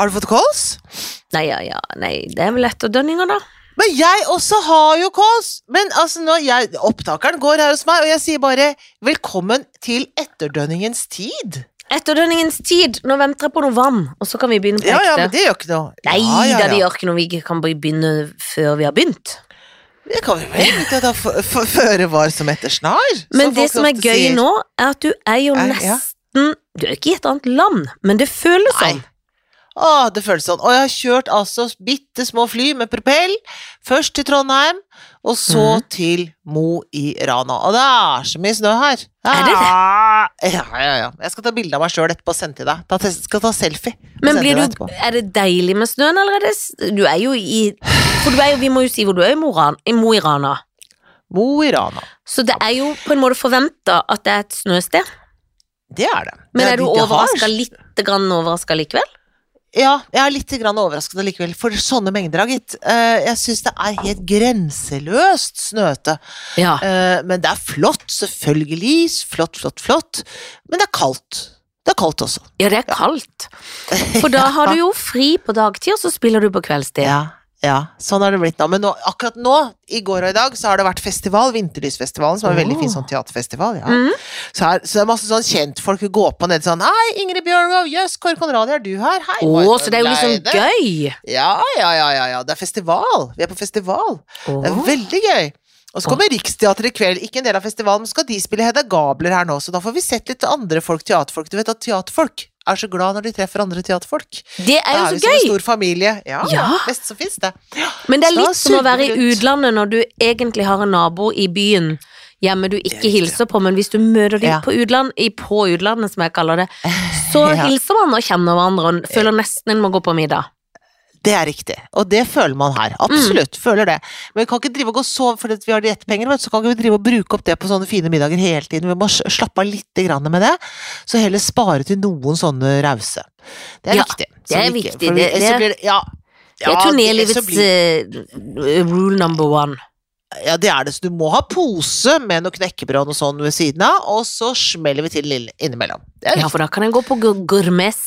Har du fått kols? Nei, ja, ja, nei, det er vel etterdønninger, da. Men jeg også har jo kols! Men altså, når jeg, opptakeren går her hos meg, og jeg sier bare 'velkommen til etterdønningens tid'. Etterdønningens tid! Nå venter jeg på noe vann, og så kan vi begynne på Ja, ekte. ja, men det gjør ikke noe. Nei ja, ja, da, det ja. gjør ikke noe. Vi ikke kan bare begynne før vi har begynt. Det kan vi vel ikke da f- f- føre var som etter snar. Men som det folk som er ofte gøy sier. nå, er at du er jo Er- ja. nesten Du er ikke i et annet land, men det føles Nei. sånn. Å, det føles sånn. Og jeg har kjørt altså bitte små fly med propell. Først til Trondheim, og så Mhm. til Mo i Rana. Og det er så mye snø her. Er det det? Ja, ja, ja. Jeg skal ta bilde av meg sjøl etterpå og sende til deg. Ta, tes- skal ta selfie. og Men sende blir til deg du, er det deilig med snøen, eller er det s- Du er jo i For du er jo, vi må jo si hvor du er, i Moran- i Mo i Rana. etterpå. Mo i Rana. Så det er jo på en måte forventa at det er et snøsted. Det er det. Men Det er du dit jeg har. overraska lite grann overraska likevel? Ja, jeg er litt grann overrasket allikevel, for sånne mengder, da, gitt. Eh, Jeg syns det er helt grenseløst snøte. Ja. Eh, Men det er flott, selvfølgelig. Flott, flott, flott. Men det er kaldt. Det er kaldt også. Ja, det er kaldt. For da har du jo fri på dagtid, og så spiller du på kveldstid. Ja, ja, sånn har det blitt nå. Men nå, akkurat nå, i går og i dag, så har det vært festival, Vinterlysfestivalen, som er en Oh. veldig fin sånn teaterfestival. Ja. Mhm. Så, her, så det er masse sånn kjentfolk som går på ned sånn Hei, Ingrid Bjørnov, jøss, Kåre Conradi, er du her? Hei, Å, Marit så det er jo liksom Leide.» gøy! Ja, ja, ja, ja, ja. Det er festival. Vi er på festival. Det er Å. veldig gøy. Og så kommer Riksteatret i kveld, ikke en del av festivalen, men skal de spille Hedda Gabler her nå, så da får vi sett litt andre folk, teaterfolk. Du vet at teaterfolk er så glad når de treffer andre teaterfolk. Det er Da jo er vi så som en gøy! stor familie. Ja, ja. Ja. best som fins, det. Men det Så er da litt som å surrer være vi i rundt. utlandet når du egentlig har en nabo i byen hjemme du ikke riktig. hilser på, men hvis du møter dem Ja. på, utland, i- på utlandet, som jeg kaller det, så Ja. hilser man og kjenner hverandre og føler nesten en må gå på middag. Det er riktig, og det føler man her. Absolutt, Mm. føler det. Men vi kan ikke drive og gå så fordi at vi har diettpenger, vet du, så kan ikke vi drive og bruke opp det på sånne fine middager hele tiden. Vi må s- slappe av litt grann med det, så heller spare til noen sånne rause. Det er Ja, viktig. det er Så vi ikke- viktig. for Det- ellers så det- blir det- ja, det er Ja, ellers så turnélivets blir- eh, rule number one. Ja, det er det, så du må ha pose med noe knekkebrød og noe sånn ved siden av, og så smeller vi til lille innimellom. Det er Ja, viktig. for da kan en gå på gur- gourmets.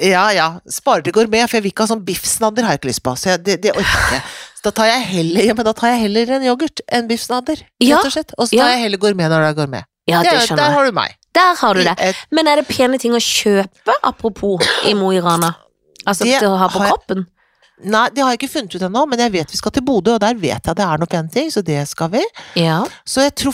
Ja, ja. Sparer til gourmet, for jeg vil ikke ha sånn biffsnadder, har jeg ikke lyst på. Så jeg, det, det orker jeg ikke. Så da tar jeg heller, ja, men da tar jeg heller en yoghurt enn biffsnadder, Ja, rett og slett. Og så ja. tar jeg heller gourmet når det er gourmet. Ja, det Der- der skjønner jeg. har du meg. Der har du det. I et- Men er det pene ting å kjøpe, apropos, i Mo i Rana? Altså Det til å ha på har jeg- kroppen? Nei, det har jeg ikke funnet ut ennå, men jeg vet vi skal til Bodø, og der vet jeg det er noe pene ting, så det skal vi. Ja. Så jeg tror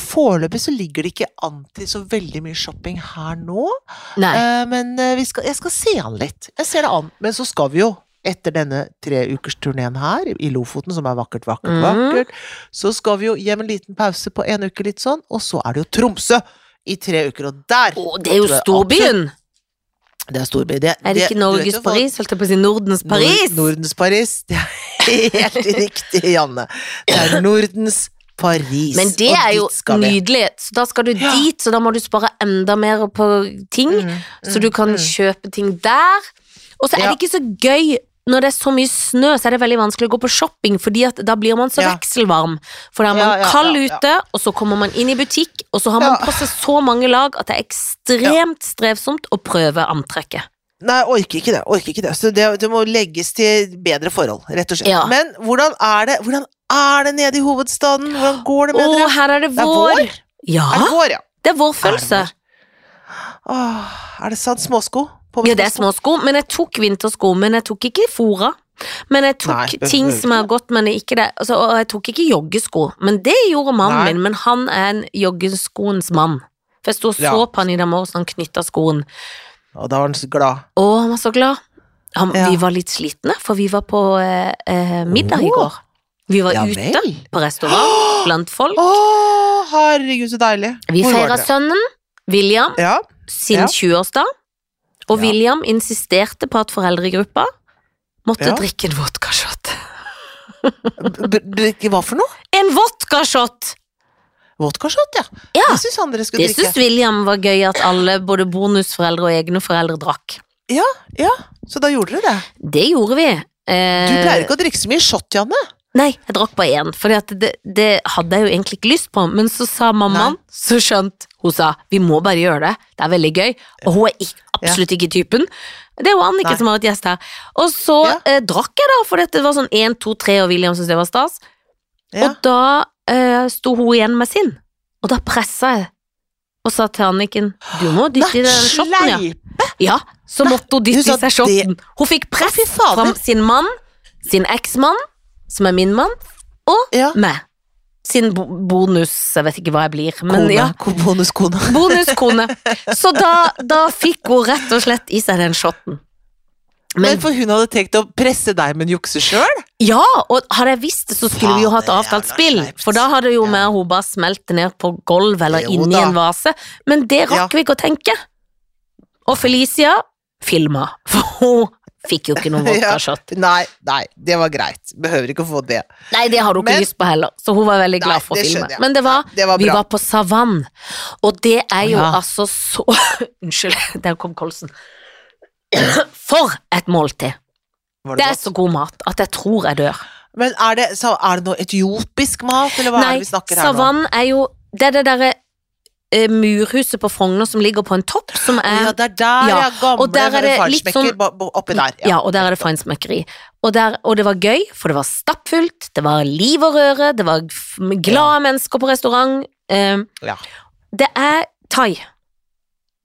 foreløpig så ligger det ikke an til så veldig mye shopping her nå. Nei. Eh, men eh, vi skal, jeg skal se han litt. Jeg ser det an. Men så skal vi jo, etter denne treukersturneen her i Lofoten, som er vakkert, vakkert, Mhm. vakkert, så skal vi jo hjem en liten pause på en uke, litt sånn, og så er det jo Tromsø i tre uker, og der Å, det er jo tror jeg storbyen! Det er storby. Det, Er det ikke du vet Norges jo hva- Paris? Holdt jeg på å si Nordens Nor- Paris! Nordens Paris. Det er helt riktig, Janne. Det er Nordens Paris. Men det og er dit jo skal vi. nydelig, så da skal du Ja. dit, så da må du spare enda mer på ting, Mm, så du kan mm. kjøpe ting der. Og så er Ja. det ikke så gøy når det er så mye snø, så er det veldig vanskelig å gå på shopping, fordi at da blir man så Ja. vekselvarm. For da er Ja, man ja, kald ja, ja. ute, og så kommer man inn i butikk, og så har man Ja. på seg så mange lag at det er ekstremt strevsomt å prøve antrekket. Nei, jeg orker ikke det. orker ikke Det Så det, det må legges til bedre forhold, rett og slett. Ja. Men hvordan er det Hvordan er det nede i hovedstaden? Hvordan går det Å, med dere? her er det Det er vår. vår! Ja, Er det vår, ja? det er vårfølelse. Er det Åh, er det sant? Småsko? På med Ja, det er små sko, men jeg tok vintersko, men jeg tok ikke fora. Men jeg tok Nei, det- ting som er godt, men ikke det. Altså, og jeg tok ikke joggesko, men det gjorde mannen Nei. min. Men han er en joggeskoens mann. For jeg sto og så Ja. på han i dag morges, han knytta skoen. Og da var han så glad. Å, han var så glad. Han, Ja. Vi var litt slitne, for vi var på eh, eh, middag Åh. i går. Vi var Ja ute vel. på restaurant blant folk. Å, herregud, så deilig. Vi Hvor var feira dere? sønnen, William, Ja. sin Ja. 20-årsdag, og Ja. William insisterte på at foreldregruppa måtte Ja. drikke en vodkashot. B- b- Drikke hva for noe? En vodkashot! Vodkashot, ja. Ja. Det syns han dere skulle Det drikke. syns William var gøy at alle, både bonusforeldre og egne foreldre, drakk. Ja, så da gjorde dere det. Det gjorde vi. Eh, Du pleier ikke å drikke så mye shot, Janne. Nei, jeg drakk bare én, for det, det hadde jeg jo egentlig ikke lyst på. Men så sa mammaen, så skjønt hun sa vi må bare gjøre det, det er veldig gøy. Og hun er ikke, absolutt ikke typen. Det er jo Annike Nei. som har vært gjest her. Og så Ja. eh, drakk jeg, da, for dette var sånn 1, 2, 3, og William syntes det var stas. Ja. Og da eh, sto hun igjen med sin, og da pressa jeg og sa til Anniken Du må dytte i den shotten, ja. sleip! ja. Så måtte hun hun dytte sa i seg det- shotten. Hun fikk press Fy fader. fra sin mann, sin eksmann, som er min mann, Ja. meg. Sin bo- bonus Jeg vet ikke hva jeg blir, men Kone. ja. ko- Bonuskone. Bonuskone. Så da, da fikk hun rett og slett i seg den shotten. Men, Men for hun hadde tenkt å presse deg, men jukse sjøl? ja, og hadde jeg visst det, så skulle vi jo hatt Fader, avtalt jævla spill. skjerpt. For da hadde jo Ja. mer hun bare smelte ned på gulvet eller Jo inni da. en vase. Men det rakk vi ikke å tenke. Og Felicia filma, for hun fikk jo ikke noen Ja. vodkashot. Nei, nei, det var greit. Behøver ikke å få det. Nei, det har hun ikke Men- lyst på heller, så hun var veldig glad Nei, for å det filme. skjønner jeg. Men det var Det var Vi bra. var på savann, og det er jo Å, ja. altså så Unnskyld, der kom kolsen. For et måltid! Var Det det er godt? så god mat at jeg tror jeg dør. Men er det, så er det noe etiopisk mat, eller hva er Nei, det vi snakker her nå? savann er jo Det er det derre eh, murhuset på Frogner som ligger på en topp, som Å er Ja, det er der, ja. ja, og Gamle der er det litt farsmekker sånn- ba- ba- oppi der. Ja, og der er det feinsmøkkeri. Og, der- og det var gøy, for det var stappfullt, det var liv og røre, det var f- glade mennesker på restaurant. Eh, Ja, det er thai,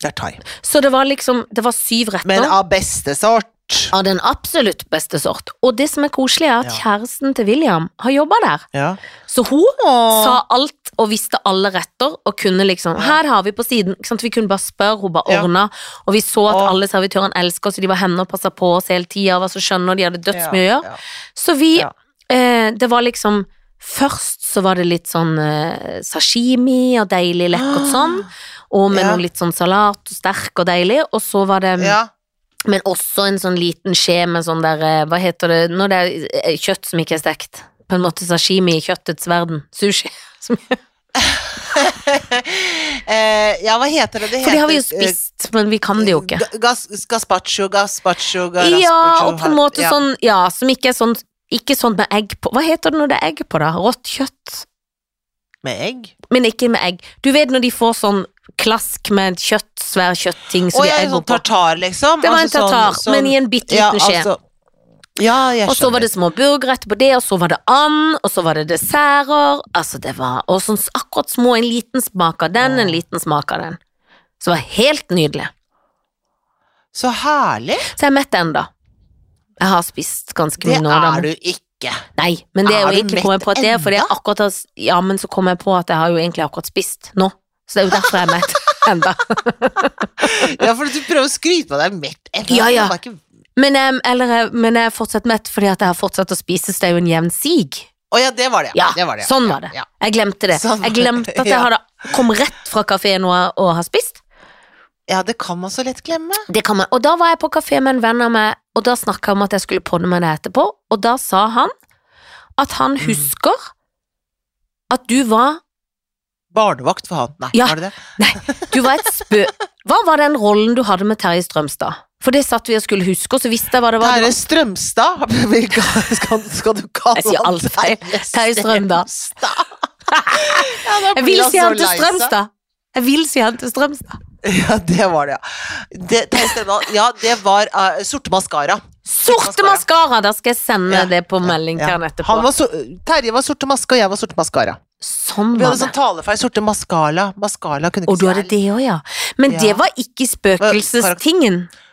Det er thai. så det var liksom Det var syv retter. Men av beste sort. Av den absolutt beste sort. Og det som er koselig, er at Ja. kjæresten til William har jobba der. Ja. Så hun Åh. sa alt og visste alle retter, og kunne liksom Her har vi på siden. Ikke sant? Vi kunne bare spørre, hun bare Ja. ordna. Og vi så at Åh. alle servitørene elsker oss, og de var henne og passa på oss hele tida, og var så skjønne, og de hadde dødsmye å Ja, gjøre. ja. Så vi Ja. eh, Det var liksom Først så var det litt sånn eh, sashimi og deilig lekkert sånn, og med Ah. Ja. noe litt sånn salat og sterk og deilig, og så var det Ja. men også en sånn liten skje med sånn der eh, Hva heter det når det er eh, kjøtt som ikke er stekt? På en måte sashimi i kjøttets verden. Sushi. Eh, ja, hva heter det? det For det har vi jo heter, eh, spist, men vi kan det jo ikke. Ga- Gas, gazpacho, gazpacho, gazpacho Ja, og på en måte ja. sånn Ja, som ikke er sånn Ikke sånn med egg på Hva heter det når det er egg på, da? Rått kjøtt? Med egg? Men ikke med egg. Du vet når de får sånn klask med kjøtt, svær Å kjøttting som de ja, har en egg sånn på. tartar, liksom? Det var en Altså sånn- tartar, sånn- men i en bitte ja, liten skje. altså- ja, jeg Og så var skjønner. det små burgere etterpå det, og så var det and, og så var det desserter. Altså, det var Og sånn s- akkurat små, en liten smak av den, en liten smak av den. Så det var helt nydelig. Så herlig! Så jeg er mett ennå. Jeg har spist ganske Det mye nå, da. er du ikke. Nei, men det er, Er jo du egentlig kom jeg mett på at det er fordi jeg enda? akkurat har s- Ja, men så kom jeg på at jeg har jo egentlig akkurat spist nå. Så det er jo derfor jeg er mett ennå. Ja, for du prøver å skryte på deg mett. ennå. Ja, ja. Det var ikke- Men, em, eller, eh, men jeg er fortsatt mett fordi at jeg har fortsatt å spise, så det er jo en jevn sig. Å ja, det var det. Ja, det var det. sånn var det. Ja. Jeg glemte det. Sånn var Jeg glemte at jeg Ja. hadde kom rett fra kafeen og, og har spist. ja, det kan man så lett glemme. Det kan man. Og da var jeg på kafé med en venn av meg, og da snakka jeg om at jeg skulle podde med deg etterpå, og da sa han at han Mm. husker at du var Barnevakt for han. Nei, Ja. var det det? Du var et spø... Hva var den rollen du hadde med Terje Strømstad? For det satt vi og skulle huske, og så visste jeg hva det var. Terje Strømstad? Skal, skal du kalle Jeg sier alt feil. Terje Strømstad. Ja, da Jeg blir vil han si så han til lei seg. Strømstad. Jeg vil si han til Strømstad. Ja, det var det, ja. Det, Terje Strømstad, ja, det var eh, sorte maskara. Sorte maskara! Da skal jeg sende Ja, det på melding til ja. han etterpå. Han var so Terje var sorte maske, og jeg var sorte maskara. Sånn Vi var hadde det. sånn talefeil. Sorte maskala. Maskala kunne ikke Og du hadde si det òg, ja. Men Ja. det var ikke spøkelsestingen. R.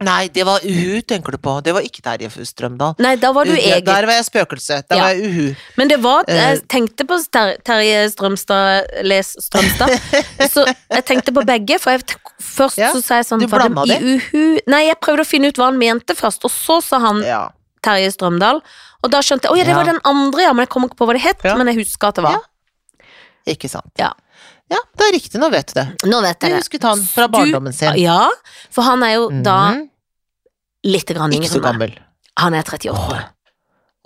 Nei, det var Uhu, tenker du på. Det var ikke Terje Strømdal. Nei, da var du Det- egen. Der var jeg spøkelse. Der Ja. var jeg Uhu. Men det var Eh. Jeg tenkte på Ter Terje Strømstad, les Strømstad. Så jeg tenkte på begge, for jeg, tenk- først Ja, så sa jeg sånn du var blanda det i uhu Nei, jeg prøvde å finne ut hva han mente først, og så sa han Ja. Terje Strømdal. Og da skjønte jeg Å ja, det var Ja. den andre, ja, men jeg kom ikke på hva det het. Ja. Men jeg husker at det var. Ikke sant. Ja. ja, det er riktig. Nå vet du det. Nå vet Du jeg det. husket han fra Du- barndommen sin. Ja, for han er jo da Mhm. litt grann Ikke yngre så enn meg. gammel. Han er 38.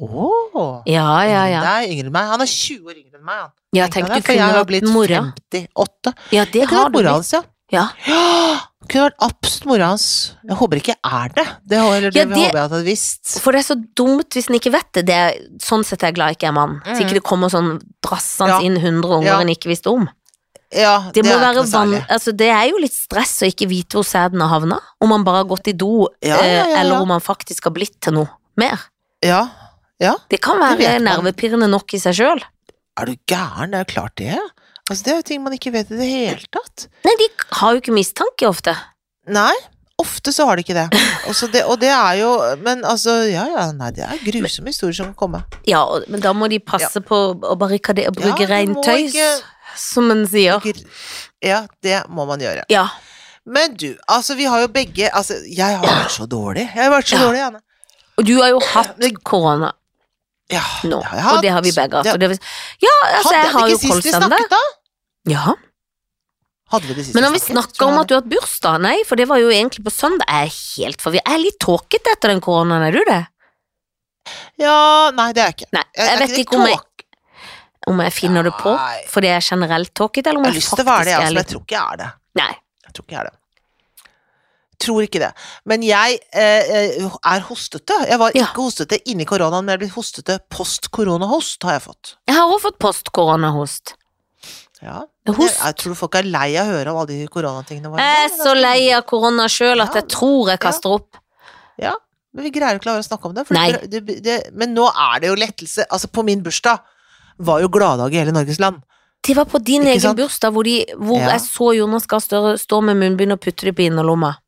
Åh Ja, ja, ja. Det er yngre enn meg. Han er 20 år yngre enn meg. Han. Ja, tenk Tenk du deg, for kunne jeg har vært blitt mora. 58. Ja, det Jeg kunne har vært mora du blitt. hans, ja. Ja. Ja, Kunne vært absolutt mora hans. Jeg håper ikke jeg er det. Det, har- eller, det, Ja, det- håper jeg at jeg hadde visst. For det er så dumt hvis en ikke vet det. det er, sånn sett er jeg glad jeg ikke er mann. Så Mm. ikke det kommer sånn drassende Ja. inn 100 unger Ja. en ikke visste om. Ja, Det, må er ikke være noe van særlig. altså, det er jo litt stress å ikke vite hvor sæden har havna. Om man bare har gått i do, Ja, ja, ja, eh, ja. eller om man faktisk har blitt til noe mer. Ja. ja. Det kan Det være vet man. nervepirrende nok i seg sjøl. Er du gæren? Det er jo klart det. Altså, det er jo ting man ikke vet i det hele tatt. Nei, de har jo ikke mistanke ofte. Nei. Ofte så har de ikke det. Også det. Og det er jo Men altså, ja ja, nei, det er grusomme historier som kan komme. Ja, og- men da må de passe på å barrikadere og bruke Ja, du må rent tøys, ikke- som en sier. Ja, det må man gjøre. Ja. Men du, altså, vi har jo begge Altså, jeg har vært så dårlig. Jeg har vært så Ja. dårlig, Anne. Og du har jo hatt korona Ja, nå, det har jeg hatt. og det har vi begge hatt. Det- og det vil- Ja, altså, Hadde jeg vi har jo ikke sist vi kolsende. snakket, da? Ja. Hadde vi det sist Men når vi vi snakker om at du har hatt bursdag, nei, for det var jo egentlig på søndag, jeg er helt forvirret. Jeg er litt tåkete etter den koronaen, er du det? Ja, nei, det er jeg ikke. Nei, Jeg- jeg, jeg er vet ikke ikke om jeg, tåk- om jeg finner det på, Nei. fordi jeg er generelt tåkete, eller om Jeg har jeg, lyst til å faktisk være det, jeg, er altså, men jeg litt tror ikke jeg er det. Nei. Jeg tror ikke jeg er det. Tror ikke det. Men jeg eh, eh, er hostete. Jeg var Ja. ikke hostete inni koronaen, men jeg er blitt hostete post koronahost, har jeg fått. Jeg har også fått postkoronahost. Ja. Det er Jeg, host. jeg tror folk er lei av å høre om alle de koronatingene våre. Jeg er Det så ganske- lei av korona sjøl Ja, at jeg tror jeg kaster opp. Men vi greier ikke å la være å snakke om det. For Nei. det, det, det. Men nå er det jo lettelse. Altså, på min bursdag var jo gladdag i hele Norges land. Det var på din Ikke egen sant? bursdag hvor, de, hvor Ja. jeg så Jonas Gahr Støre stå med munnbind og putte det på innerlomma.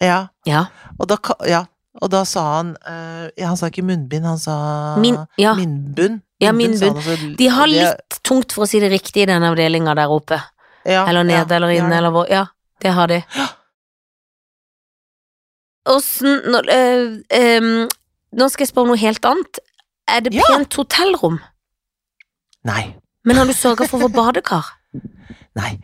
Ja. Ja. Og da, ka- ja. Og da sa han eh, ja, Han sa ikke munnbind, han sa Min, Ah. ja. minnbunn. Ja, sa han minnbunn. også. De har Det- litt tungt for å si det riktig i den avdelinga der oppe. ja, Eller nede ja, eller de har inne det. eller hvor Ja, det har de. Åssen nå, øh, øhm, nå skal jeg spørre om noe helt annet. Er det Ja. pent hotellrom? Nei. Men har du sørga for å få badekar? Nei.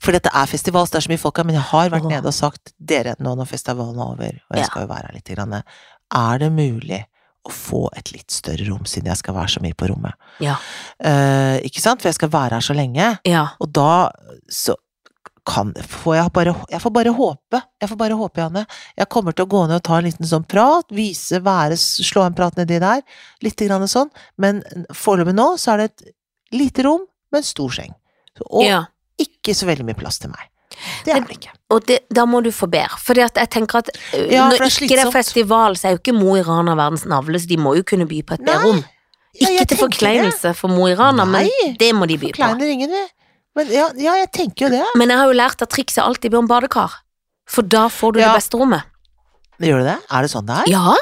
For dette er festival, så det er så mye folk her, men jeg har vært Åh. nede og sagt dere, nå når festivalen er over, og jeg Ja. skal jo være her litt, grann, er det mulig å få et litt større rom, siden jeg skal være så mye på rommet? Ja. Eh, ikke sant? For jeg skal være her så lenge, Ja. og da så kan, får jeg, bare, jeg får bare håpe, jeg får bare håpe, Janne. Jeg kommer til å gå ned og ta en liten sånn prat, vise, være, slå en prat nedi der, litt grann sånn, men foreløpig nå så er det et lite rom med en stor seng. Og ja. ikke så veldig mye plass til meg. Det Men- er det ikke. Og det, da må du få bedre. Fordi at jeg tenker at øh, Ja, for når det er ikke det er slitsomt. festival, så er jo ikke Mo i Rana verdens navle, så de må jo kunne by på et bedre Nei, rom. Ja, Ikke jeg til tenker forkleinelse for Mo i Rana, men Nei, det må de by på. Forkleiner ingen, vi. Men ja, ja, jeg tenker jo det. Men jeg har jo lært at trikset alltid blir om badekar. For da får du Ja. det beste rommet. Gjør du det? Er det sånn det er? Ja,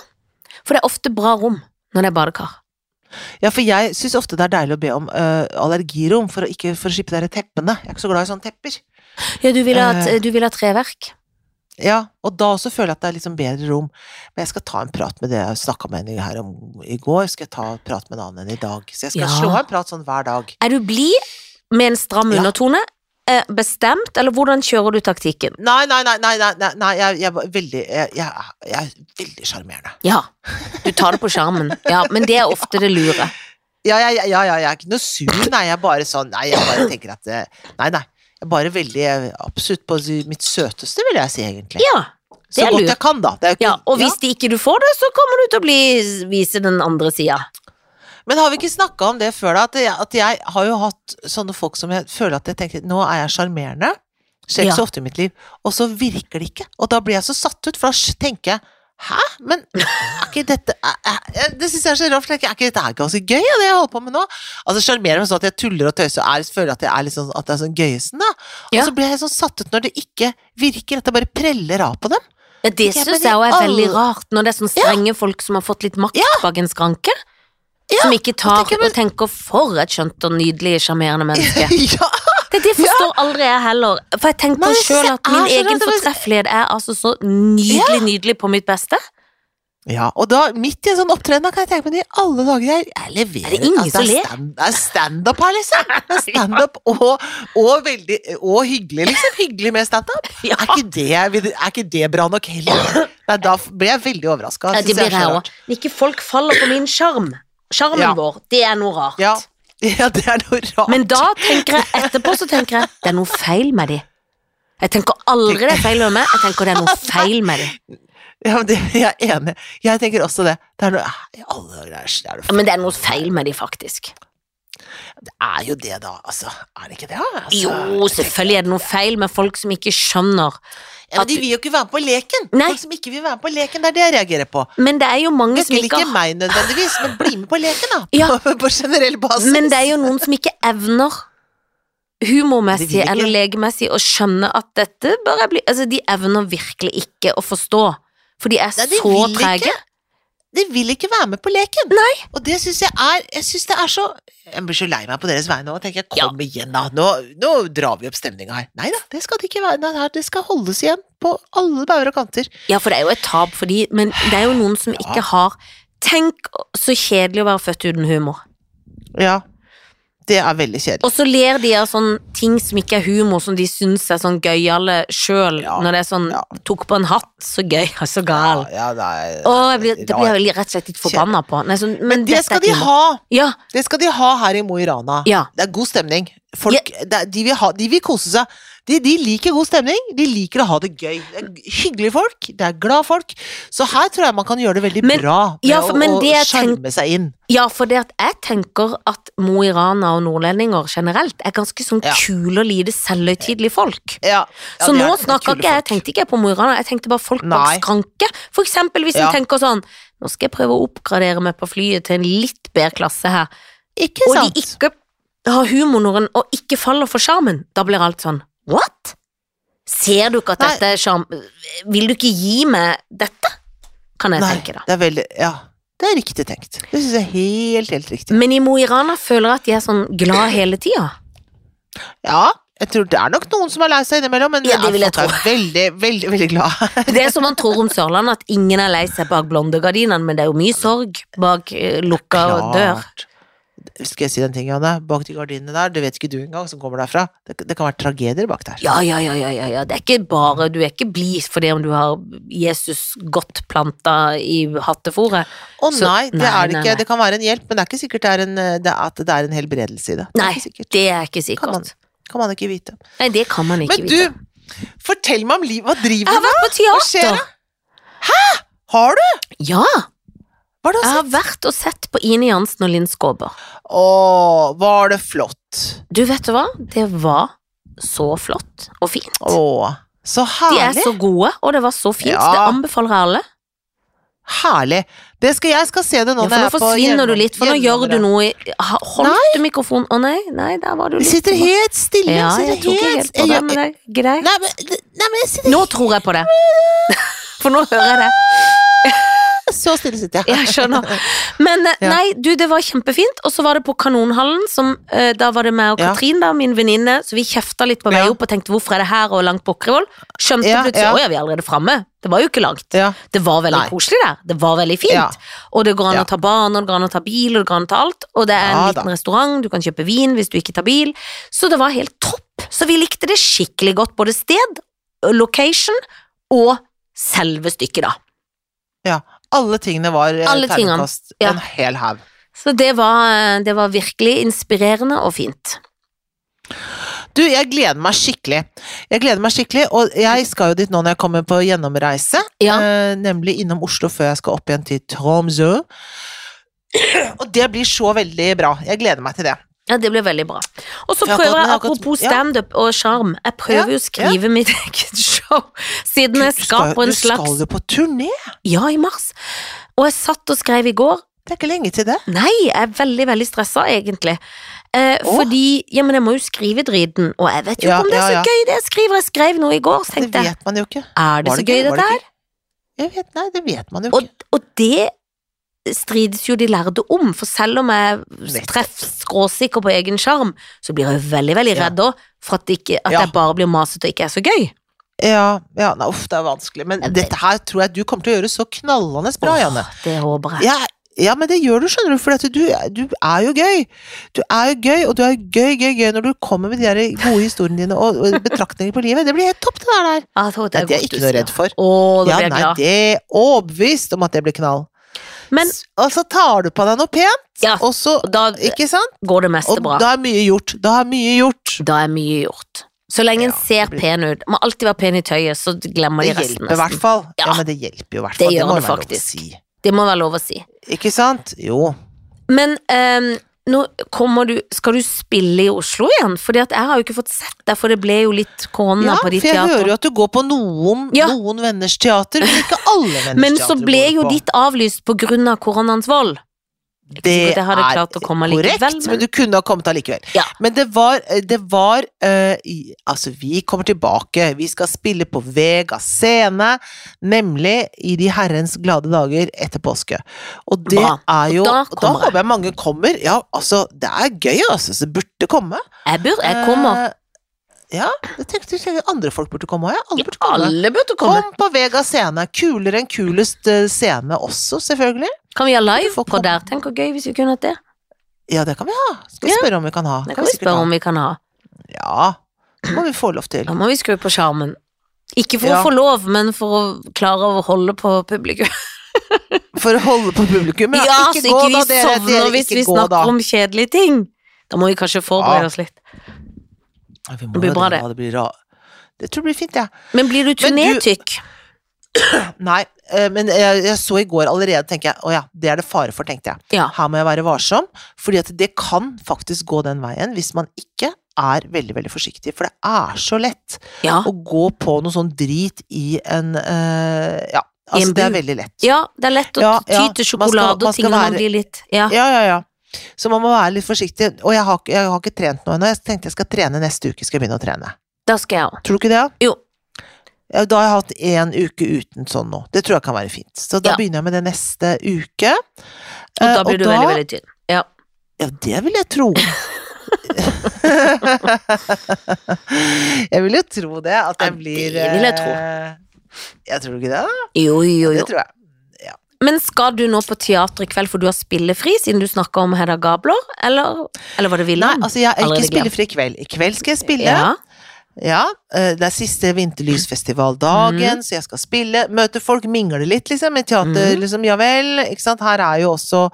for det er ofte bra rom når det er badekar. Ja, for jeg syns ofte det er deilig å be om øh, allergirom for å ikke for å slippe de teppene. Jeg er ikke så glad i sånne tepper. Ja, du vil ha, et- Eh. du vil ha treverk. Ja, og da også føler jeg at det er liksom bedre rom. Men jeg skal ta en prat med det jeg snakka med henne her om i går. Skal jeg ta en prat med en annen enn i dag. Så jeg skal Ja. slå av en prat sånn hver dag. Er du blid med en stram Ja. undertone? Eh, Bestemt, eller hvordan kjører du taktikken? Nei, nei, nei, nei, nei, nei, nei jeg, jeg, var veldig, jeg, jeg, jeg er veldig sjarmerende. Ja, du tar det på skjermen. Ja, men det er ofte det lure. Ja, ja, ja, ja, ja, jeg er ikke noe sur, nei, jeg er bare sånn, nei, jeg bare tenker at eh, Nei, nei, jeg er bare veldig eh, absolutt på si- mitt søteste, vil jeg si, egentlig. Ja, det Så er godt lurt. jeg kan, da. Det er jo ikke, Ja, og hvis de ikke du får det, så kommer du til å bli, vise den andre sida. Men har vi ikke snakka om det før, da? At jeg, at jeg har jo hatt sånne folk som jeg føler at jeg tenker Nå er jeg sjarmerende. Skjer ikke Ja. så ofte i mitt liv. Og så virker det ikke. Og da blir jeg så satt ut, for da s- tenker jeg Hæ? Men er ikke dette er, er, Det syns jeg er så rart. for jeg tenker, Er ikke dette her ganske gøy, ja, det jeg holder på med nå? Altså Sjarmerer meg sånn at jeg tuller og tøyser og er, føler at jeg er litt sånn, at det er sånn gøyesen, da. Og Ja. så blir jeg sånn satt ut når det ikke virker. At det bare preller av på dem. Ja, det Ja, men syns i jeg òg er veldig alle- rart, når det er sånne strenge folk som har fått litt makt bak en skranke. Ja, Som ikke tar tenker jeg, men- og tenker 'for et skjønt og nydelig sjarmerende menneske'. ja. Det, det forstår aldri jeg heller. For jeg Nei, tenker jeg synes sjøl det at min er så egen rart, det var- fortreffelighet er altså så nydelig, nydelig på mitt beste. Ja, og da, midt i en sånn opptreden, da kan jeg tenke meg i alle dager jeg, jeg leverer Er det ingen som det ler? er stand- Det er standup her, liksom! Det er standup og, og, veldig, og hyggelig, liksom. Hyggelig med standup. Ja. Er, ikke det- er ikke det bra nok heller? Nei, da f- blir jeg veldig overraska. Ja, det blir jeg òg. Ikke folk faller på min sjarm. Sjarmen Ja. vår, det er noe rart. Ja. ja, det er noe rart. Men da tenker jeg etterpå så tenker jeg det er noe feil med de. Jeg tenker aldri det er feil med meg, jeg tenker det er noe feil med de. ja, men det, jeg er enig. Jeg tenker også det. Det er noe i alle ah, dager, det er- det er noe Ja, Men det er noe feil med de, faktisk. Det er jo det, da. Altså, er det ikke det? da? Altså, Jo, selvfølgelig er det noe feil med folk som ikke skjønner. Ja, men de vil jo ikke være med på leken! Nei. Folk som ikke vil være med på leken, det er det jeg reagerer på. Men det er jo mange Jeg som vil ikke ikke har meg nødvendigvis, men bli med på leken, da. Ja. På, på generell basis. Men det er jo noen som ikke evner De vil humormessig ikke. eller legemessig å skjønne at dette bør jeg bli Altså, de evner virkelig ikke å forstå, for de er Nei, de så vil ikke. trege. De vil ikke være med på leken. Nei. Og det syns jeg er Jeg synes det er så Jeg blir så lei meg på deres vegne nå. Tenker jeg, Ja. kom igjen, da. Nå, nå drar vi opp stemninga her. Nei da, det skal det ikke være. Nei, her- det skal holdes igjen på alle bauger og kanter. Ja, for det er jo et tap for de, men det er jo noen som ikke har Tenk så kjedelig å være født uten humor. Ja. Det er veldig kjedelig. Og så ler de av sånne ting som ikke er humor, som de syns er sånn gøyale sjøl, Ja, når det er sånn ja. Tok på en hatt, så gøy, så gal. Ja, ja, nei, Å, jeg blir, det blir rar. jeg veldig rett og slett litt forbanna på. Nei, sånn, men, Men det dette er skal ikke de humor. ha! Ja, Det skal de ha her i Mo i Rana. ja. Det er god stemning. Folk, det, er- de, vil ha, de vil kose seg. De, de liker god stemning, de liker å ha det gøy. Det er hyggelige folk, det er glad folk. Så her tror jeg man kan gjøre det veldig Men- bra med ja, for- men å, det å jeg sjarme seg inn. Ja, for det at jeg tenker at Mo i Rana og nordlendinger generelt er ganske sånn Ja. kule og lite selvhøytidelige folk. Ja, ja, Så det nå er- det er snakker kule ikke jeg, folk. tenkte ikke jeg på Mo i Rana, jeg tenkte bare folk bak Nei. skranke. For eksempel hvis Ja. en tenker sånn, nå skal jeg prøve å oppgradere meg på flyet til en litt bedre klasse her, Ikke og sant? de ikke har humoren og ikke faller for skjermen, da blir alt sånn, what? Ser du ikke at Nei. dette er skjerm? Vil du ikke gi meg dette? Kan jeg Nei, tenke da. det er veldig Ja, det er riktig tenkt. Det syns jeg er helt, helt riktig. Men i Mo i Rana føler jeg at de er sånn glad hele tida. Ja, jeg tror det er nok noen som er lei seg innimellom, men Ja, det er- vil jeg folk er veldig, veldig, veldig glad. Det er som man tror om Sørlandet, at ingen er lei seg bak blondegardinene, men det er jo mye sorg bak eh, lukka dør. Klart. Skal jeg si den ting, Janne? Bak de gardinene der, det vet ikke du engang som kommer derfra. Det, det kan være tragedier bak der. Ja, ja, ja, ja, ja, ja. Det er ikke bare, du er ikke blid fordi om du har Jesus godt planta i hattefòret. Å Så- nei, det nei, er det nei, ikke. nei. Det kan være en hjelp, men det er ikke sikkert det er en, eh, det er at det er en helbredelse i det. Det er Nei, ikke sikkert. det er ikke Kan man, sikkert. kan man ikke vite. Nei, det kan man ikke men vite. du, fortell meg om liv. Hva Jeg driver har du med? vært på skjer teater! Har du? Ja, Hva har du jeg har sett? vært og sett på Ine Jansen og Linn Skåber. Å, var det flott. Du vet du hva, det var så flott og fint. Å, så De er herlig. så gode, og det var så fint. Ja. Det anbefaler jeg alle. Herlig. Det skal, jeg skal se det nå når Ja, for nå jeg er på forsvinner du gjennom- litt, for nå gjør du gjennomre. noe i ha- Holdt du mikrofonen? Å nei, nei, der var du Jeg litt sitter helt stille. Ja, sitter jeg tok ikke helt på det, jeg- men det er greit. Nei, men, nei, men jeg sitter Nå tror jeg på det. For nå hører jeg det. så stille sitter jeg. Jeg skjønner. Men eh, Ja. nei, du, det var kjempefint. Og så var det på Kanonhallen, som eh, Da var det meg og Ja. Katrin, da, min venninne, så vi kjefta litt på vei Ja. opp og tenkte hvorfor er det her og langt Bukkervoll? Skjønte Ja, plutselig ja. å ja, vi er allerede framme. Det var jo ikke langt. Ja. Det var veldig Nei. koselig der. Det var veldig fint. Ja. Og det går an Ja. å ta barn, og det går an å ta bil, og det går an å ta alt. Og det er en Ja, da. liten restaurant, du kan kjøpe vin hvis du ikke tar bil. Så det var helt topp. Så vi likte det skikkelig godt, både sted, location og selve stykket, da. Ja, alle tingene var eh, Alle tingene, terningkast ja. en hel haug. Så det var, det var virkelig inspirerende og fint. Du, jeg gleder meg skikkelig. Jeg gleder meg skikkelig, og jeg skal jo dit nå når jeg kommer på gjennomreise. Ja. Eh, nemlig innom Oslo før jeg skal opp igjen til Tromsø. Og det blir så veldig bra. Jeg gleder meg til det. Ja, det ble veldig bra. Og så Ja, akkurat, prøver jeg, men akkurat- apropos ja. standup og sjarm, jeg prøver Ja, jo å skrive mitt eget show, siden jeg Du skal på en du skal slags jo på turné! Ja, i mars. Og jeg satt og skrev i går. Det er ikke lenge til det. Nei, jeg er veldig, veldig stressa, egentlig. Eh, Åh. Fordi Ja, men jeg må jo skrive driten, og jeg vet jo Ja, ikke om det er ja, så ja. gøy, det jeg skriver. Jeg skrev noe i går, så Det tenkte jeg. vet man jo ikke. Er det Var så gøy, Var dette her? ikke? Jeg vet, nei, det vet man jo Og, ikke. og det strides jo de lærde om, for selv om jeg Nettopp. treffer skråsikker på egen sjarm, så blir jeg veldig, veldig Ja. redd òg for at, det ikke, at Ja. jeg bare blir masete og ikke er så gøy. Ja, ja nei, uff, det er vanskelig. Men Jeg vet. dette her tror jeg du kommer til å gjøre så knallende bra, Åh, Janne. Det håper jeg. Ja, ja, men det gjør du, skjønner du, for at du, du er jo gøy. Du er jo gøy, og du er gøy, gøy, gøy når du kommer med de der gode historiene dine og, og betraktninger på livet. Det blir helt topp, det der. der. Ja, jeg Nei, tror det er godt jeg du ikke noe sier. redd for. Å, da Ja, blir jeg nei, glad. det er overbevist om at det blir knall. Men S- altså, tar du på deg noe pent, ja, og så og da Ikke sant? går det meste Og bra. da er mye gjort. Da er mye gjort. Da er mye gjort. Så lenge en Ja, ser det blir- pen ut. Må alltid være pen i tøyet, så glemmer Det de resten. hjelper i hvert nesten. fall. Ja. Ja, men det hjelper jo i hvert fall. gjør må det være lov å faktisk. Si. Det må være lov å si. Ikke sant? Jo. Men ehm, nå kommer du Skal du spille i Oslo igjen? Fordi at jeg har jo ikke fått sett deg, for det ble jo litt korona Ja, Mm, på for ditt jeg hører teater. jo at du går på noen, Ja. noen venners teater, men ikke alle venners teater. Men så du ble går jo på. ditt avlyst på grunn av koronaens vold. Det sikkert jeg hadde klart å komme likevel, korrekt, men men- du kunne ha kommet allikevel. Ja. Men det var, det var eh, i- Altså, vi kommer tilbake. Vi skal spille på Vega scene, nemlig i de herrens glade dager etter påske. Og det Bra. er jo Da Da, kommer jeg. håper jeg mange kommer. Ja, altså, det er gøy, altså. Så det burde komme. Jeg, bør, jeg kommer. Eh, ja, det tenkte jeg tenkte andre folk burde komme òg, ja. Alle burde komme. Alle burde komme. Kom på Vega scene. Kulere enn kulest eh, scene også, selvfølgelig. Kan vi ha Du får live på komme. der? Tenk hvor gøy hvis vi kunne hatt det. Ja, det kan vi ha. Skal vi Ja. spørre om vi kan ha. Det Kan kan vi vi sikkert spørre ha. om vi kan ha. Ja, det må vi få lov til. Da må vi skru på sjarmen. Ikke for Ja. å få lov, men for å klare å holde på publikum. For å holde på publikum. Men ja, så ikke gå ikke vi da, dere. sovner dere hvis ikke vi gå snakker da. om kjedelige ting. Da må vi kanskje Ja. forberede oss litt. Ja, vi må Det blir jo bra, det. det. Ja, Det blir ra- Det tror jeg blir fint, jeg. Ja. Men blir du Men du- turnétykk? Nei, eh, men jeg, jeg så i går allerede, tenker jeg. Å ja, det er det fare for, tenkte jeg. Ja. Her må jeg være varsom, fordi at det kan faktisk gå den veien hvis man ikke er veldig, veldig forsiktig. For det er så lett Ja. å gå på noe sånn drit i en eh, Ja, I en altså det er bur. veldig lett. ja, det er lett å Ja, ty ja. til Man skal- sjokolade man og ting skal når man være- blir litt Ja. Ja, ja, ja. Så man må være litt forsiktig. Og jeg har, ikke- jeg har ikke trent nå ennå. Jeg tenkte jeg skal trene neste uke. Skal jeg begynne å trene. Da skal jeg òg. Tror du ikke det? da? Jo. Ja, da har jeg hatt én uke uten sånn nå. Det tror jeg kan være fint. Så da Ja. begynner jeg med det neste uke. Og Eh, da blir du veldig, veldig tynn. Ja. Ja, det vil jeg tro. jeg vil jo tro det. At Ja, jeg blir det vil jeg tro. eh, Jeg tror ikke det, da. Jo, jo, Det jo. tror jeg. Men skal du nå på teater i kveld, for du har spillefri, siden du snakka om Hedda Gabler? Eller, eller var det Nei, Wilhelm? altså jeg er Allerede ikke glemt. spillefri i kveld. I kveld skal jeg spille. ja. Ja, eh, det er siste vinterlysfestivaldagen, så jeg skal spille, møte folk, mingle litt, liksom, i teater, Mhm. liksom, ja vel, ikke sant, her er jo også,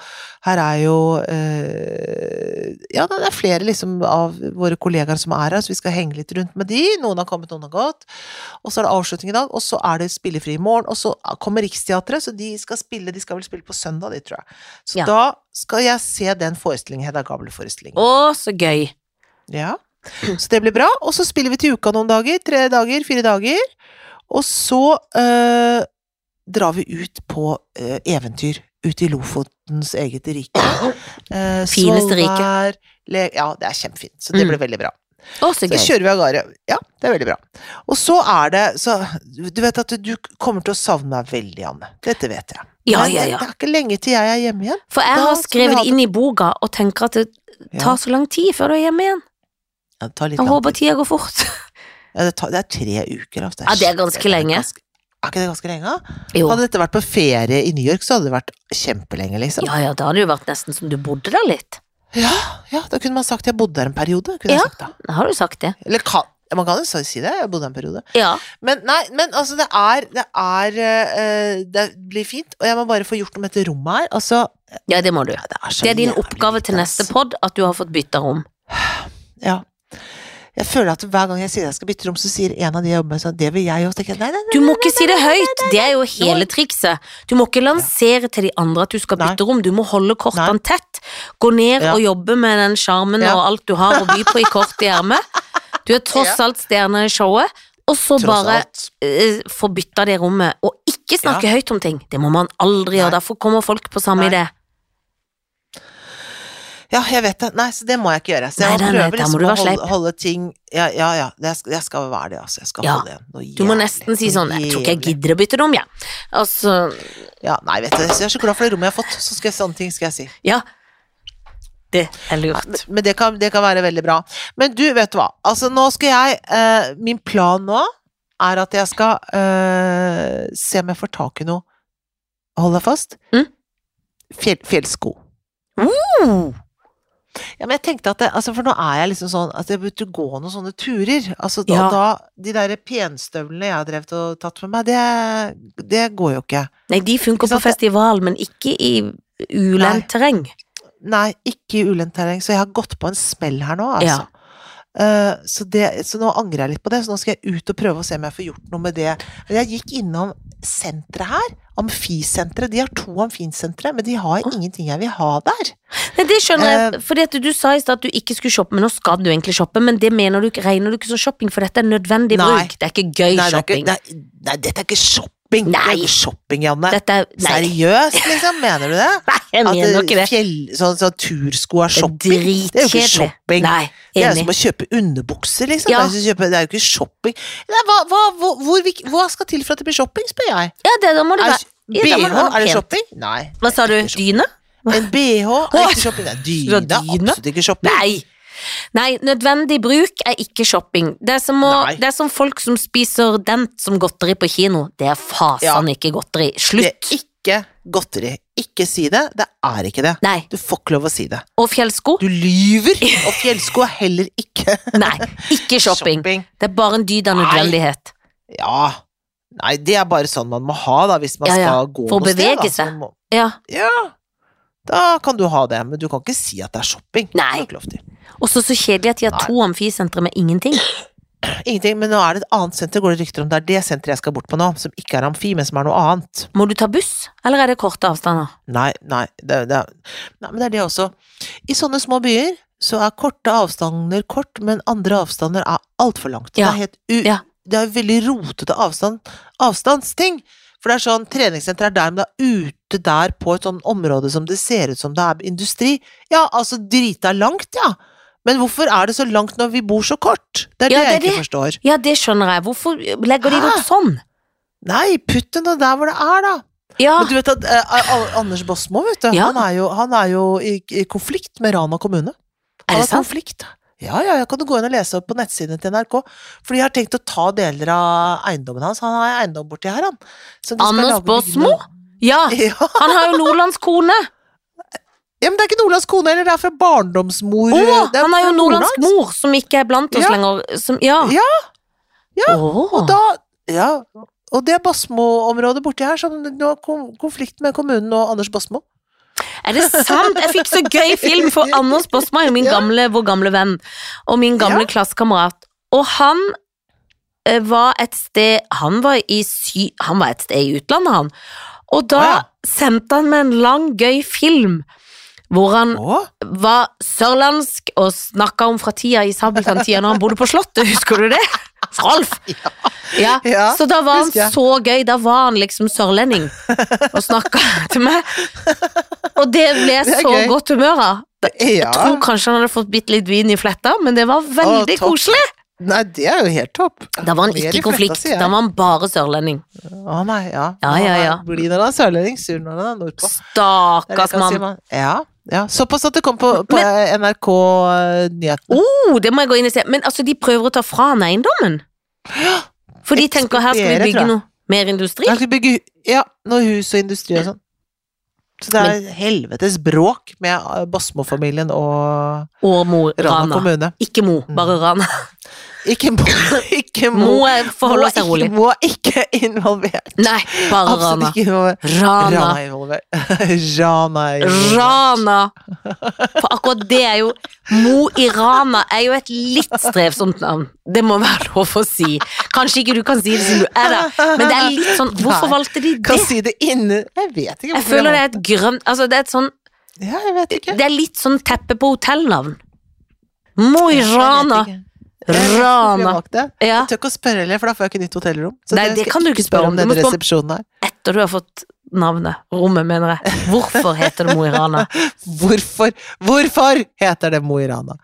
her er jo, eh, ja, det er flere, liksom, av våre kollegaer som er her, så vi skal henge litt rundt med de, noen har kommet, noen har gått, og så er det avslutning i dag, og så er det spillefri i morgen, og så kommer Riksteatret, så de skal spille, de skal vel spille på søndag, de tror jeg. Så Ja. da skal jeg se den forestillingen, Hedda Gabel-forestillingen. Å, så gøy. Ja. Så det blir bra. Og så spiller vi til uka noen dager. Tre dager, fire dager. Og så eh, drar vi ut på eh, eventyr. Ut i Lofotens eget rike. Eh, Fineste rike. Svolvær, Le ja, det er kjempefint. Så det Mm. blir veldig bra. Å, så Så gøy. kjører vi av gårde. Ja, det er veldig bra. Og så er det så, Du vet at du kommer til å savne meg veldig, Anne. Dette vet jeg. Ja, Men ja, ja. Det er ikke lenge til jeg er hjemme igjen. For jeg Da har skal vi skrevet ha det inn i boka og tenker at det Ja. tar så lang tid før du er hjemme igjen. Ja, det, tar litt Jeg lang håper tid. tida går fort. Ja, det, tar, det er tre uker. Altså. Ja, det er ganske lenge. ganske- Er ikke det ganske lenge? da? Jo. Hadde dette vært på ferie i New York, så hadde det vært kjempelenge, liksom. Ja, ja, da hadde det jo vært nesten som du bodde der litt. Ja, ja, da kunne man sagt jeg bodde der en periode. Kunne Ja. jeg sagt da. Da har du sagt det. Eller kan, man kan jo så si det, jeg bodde der en periode. Ja. Men nei, men altså, det er Det, er, eh, det blir fint, og jeg må bare få gjort noe med dette rommet her. Altså, ja, det må du. ja, det er så Det er din jævlig oppgave lite, altså. til neste ass. pod at du har fått bytta rom. Ja. Jeg føler at hver gang jeg sier jeg skal bytte rom, så sier en av de jeg jobber med sånn Det vil jeg jo, så tenker jeg nei, nei, nei. Du må ikke si det høyt, det er jo hele trikset. Du må ikke lansere til de andre at du skal Nei. bytte rom, du må holde kortene Nei. tett. Gå ned Ja. og jobbe med den sjarmen Ja. og alt du har å by på i kortet i ermet. Du er tross alt stjerne i showet, og så Tross bare alt. eh, få bytta det rommet, og ikke snakke høyt om ting. Det må man aldri Nei. gjøre, derfor kommer folk på Nei. samme idé. Ja, jeg vet det. Nei, så det må jeg ikke gjøre. Så jeg Nei, må nei, prøve nei, der må liksom du å være holde, sleip. holde ting Ja, ja, ja. Jeg skal, jeg skal være det, altså. Jeg skal Ja. holde igjen. Noe Du må jævlig. nesten si Noe sånn 'Jeg tror ikke jeg jævlig. gidder å bytte rom, jeg'. Ja. Altså, Ja, nei, vet du, jeg er så glad for det rommet jeg har fått, så skal jeg, sånne ting skal jeg si. ja. Det er lurt. Men det kan, det kan være veldig bra. Men du, vet du hva. Altså, nå skal jeg eh, Min plan nå er at jeg skal eh, se om jeg får tak i noe Hold deg fast. Mm. Fjell, fjellsko. Mm. Ja, men jeg tenkte at det, altså For nå er jeg liksom sånn at jeg burde gå noen sånne turer. Altså da, Ja. da De der penstøvlene jeg har drevet og tatt med meg, det, det går jo ikke. Nei, de funker Ikke på sant? festival, men ikke i ulendt terreng. Nei, ikke i ulendt terreng, så jeg har gått på en smell her nå, altså. Eh, så, det, så nå angrer jeg litt på det, så nå skal jeg ut og prøve å se om jeg får gjort noe med det. Men jeg gikk innom senteret her, Amfisenteret. De har to amfisentre, men de har ingenting jeg vil ha der. Nei, det skjønner Eh. jeg, fordi at du sa i stad at du ikke skulle shoppe, men nå skal du egentlig shoppe, men det mener du, ikke- regner du ikke som shopping, for dette er nødvendig Nei. bruk. Det er ikke Nei, gøy det er shopping. ikke, nei, nei, dette er ikke shopping! Det Nei. er ikke shopping, Janne. Dette er, nei, Seriøst, liksom? Mener du det? nei, jeg At mener ikke eh, det. fjell, sånn, sånn tursko er Det shopping? Det er er jo ikke dritkjedelig. shopping. Nei, Det er jo enig. som å kjøpe underbukser, liksom. Ja. Det, er jo ikke, kjøpe- det er jo ikke shopping. Nei, hva, hva, hvor, hvor, vi- hva skal til for at det blir shopping, spør jeg. Ja, det, da må det Er, være Ja, da BH, må det være er det pent. shopping? Nei. Hva sa du? det er ikke Dyne? En BH er ikke shopping. Nei, dyne Det var er dyne? absolutt ikke shopping. Nei. Nei, nødvendig bruk er ikke shopping. Det er som, å, Nei. det er som folk som spiser dent som godteri på kino. Det er fasan ikke godteri. Det Slutt. er ikke godteri. Ikke si det. Det er ikke det. Nei. Du får ikke lov å si det. Og fjellsko? Du lyver! Og fjellsko er heller ikke Nei, ikke shopping. Det er bare en dyd av Nei. nødvendighet. Ja. Nei, det er bare sånn man må ha da, hvis man Ja, ja. skal gå For å noe sted, da. bevege Så seg. må- Ja. Ja. Da kan du ha det, men du kan ikke si at det er shopping. Det har Nei. du ikke lov til. Og så så kjedelig at de har Nei. to amfisentre med ingenting. Ingenting, men nå er det et annet senter, går det rykter om. Det er det senteret jeg skal bort på nå, som ikke er amfi, men som er noe annet. Må du ta buss, eller er det korte avstander? Nei, nei, det, det, nei, men det er det også. I sånne små byer så er korte avstander kort, men andre avstander er altfor langt. Det Ja. er helt u... Ja. Det er veldig rotete avstand, avstandsting. For det er sånn, treningssenter er der, men det er ute der på et sånn område som det ser ut som det er industri. Ja, altså drita langt, ja. Men hvorfor er det så langt når vi bor så kort? Det er Ja, det jeg det er ikke forstår. Ja, det skjønner jeg. Hvorfor legger de det opp Hæ? sånn? Nei, putt det nå der hvor det er, da. Ja, Men du vet at eh, Al- Anders Bosmo, vet du, Ah. Ja. han er jo, han er jo i, i konflikt med Rana kommune. er det Han har sant? konflikt. Ja, ja, ja, kan du gå inn og lese opp på nettsidene til NRK. For de har tenkt å ta deler av eiendommen hans. Han har eiendom borti her, han. som de skal Anders lage Båsmo? bygning- Ja, Ja. han har jo Nordlands kone. ja, men det er ikke Nordlands kone heller, det er fra barndomsmor. Å, det han har jo fra nordlandsk mor, som ikke er blant oss Ja. lenger. Som, ja. Ja. Ja, Å. Og da, ja, og det er Basmo-området borti her, som nå har kon- konflikt med kommunen og Anders Basmo. Er det sant? Jeg fikk så gøy film for Anders Bosma er jo min Ja. gamle, vår gamle venn og min gamle klassekamerat. Og han eh, var et sted Han var, i sy, han var et sted i utlandet, han. Og da Å, ja. sendte han meg en lang, gøy film hvor han Å, var sørlandsk og snakka om fra tida i Sabeltann-tida når han bodde på Slottet, husker du det? Rolf! Ja. ja. Så da var han husker jeg. så gøy, da var han liksom sørlending og snakka til meg. Og det ble jeg Det er så gøy. godt humør av. ja. Jeg tror kanskje han hadde fått bitte litt vin i fletta, men det var veldig Å, topp. koselig. Nei, det er jo helt topp. Da var han Mer ikke i i konflikt, fletta, sier jeg. da var han bare sørlending. Å nei, ja. Ja, ja, Han er ja. Blid når han er sørlending, sur når han er nordpå. Det er det Stakkars jeg kan si, mann. mann. Ja, ja. Såpass at det kom på, på NRK eh, Nyhetene. Oh, det må jeg gå inn og se. Men altså, de prøver å ta fra han eiendommen. For de tenker her skal vi Ekspropriere, bygge tror jeg. noe mer industri. Jeg skulle bygge hu- ja, noe hus og industri og sånn. Så det er helvetes bråk med eh, Basmo-familien og Og Mo Rana Rana. kommune. Ikke Mo, bare Rana. Ikke Mo. Ikke Mo Mo. er- Mo forholder er seg rolig. Ikke, Mo er ikke involvert. Nei, bare Absolutt ikke involvert. Rana. Rana er involvert. Rana er involvert. Rana! For akkurat det er jo Mo i Rana er jo et litt strevsomt navn. Det må være lov å si. Kanskje ikke du kan si det siden du er der, men det er litt sånn Hvorfor Nei. valgte de Kan det? si det inne Jeg vet ikke. Jeg hvorfor føler det var- er et grønt Altså, det er et sånn Ja, jeg vet ikke. Det er litt sånn teppe på hotellnavn. Mo i Jeg Rana. vet ikke. Jeg vet ikke hvorfor jeg Rana. valgte det. Ja. Jeg tør ikke å spørre heller, for da får jeg ikke nytt hotellrom. Så Nei, jeg det skal kan du ikke spørre om. Du denne må spørre om resepsjonen her. etter du har fått navnet. Rommet, mener jeg. Hvorfor heter det Mo i Rana? Hvorfor, hvorfor heter det Mo i Rana?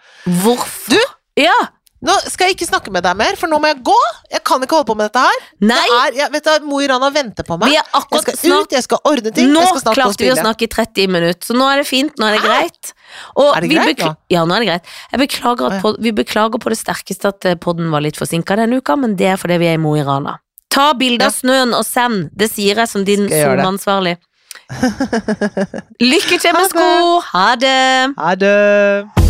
Hvorfor? Ja! Nå skal jeg ikke snakke med deg mer, for nå må jeg gå. Jeg kan ikke holde på med dette her. Nei! Det er, jeg, vet du, Mo i Rana venter på meg. Vi er Jeg akkurat skal snart ut, jeg skal ordne ting. nå jeg skal snart gå og klarte vi å spille. snakke i 30 minutter, så nå er det fint. Nå er det greit. Og Er det vi greit bekl- nå? Ja, nå er det greit. Jeg beklager at Å, ja. pod vi beklager på det sterkeste at eh, podden var litt forsinka denne uka, men det er fordi vi er i Mo i Rana. Ta bilde av snøen og send, det sier jeg som din Skal jeg gjøre det. SoMe-ansvarlig. Lykke til Ha med det. sko! Ha det! Ha det.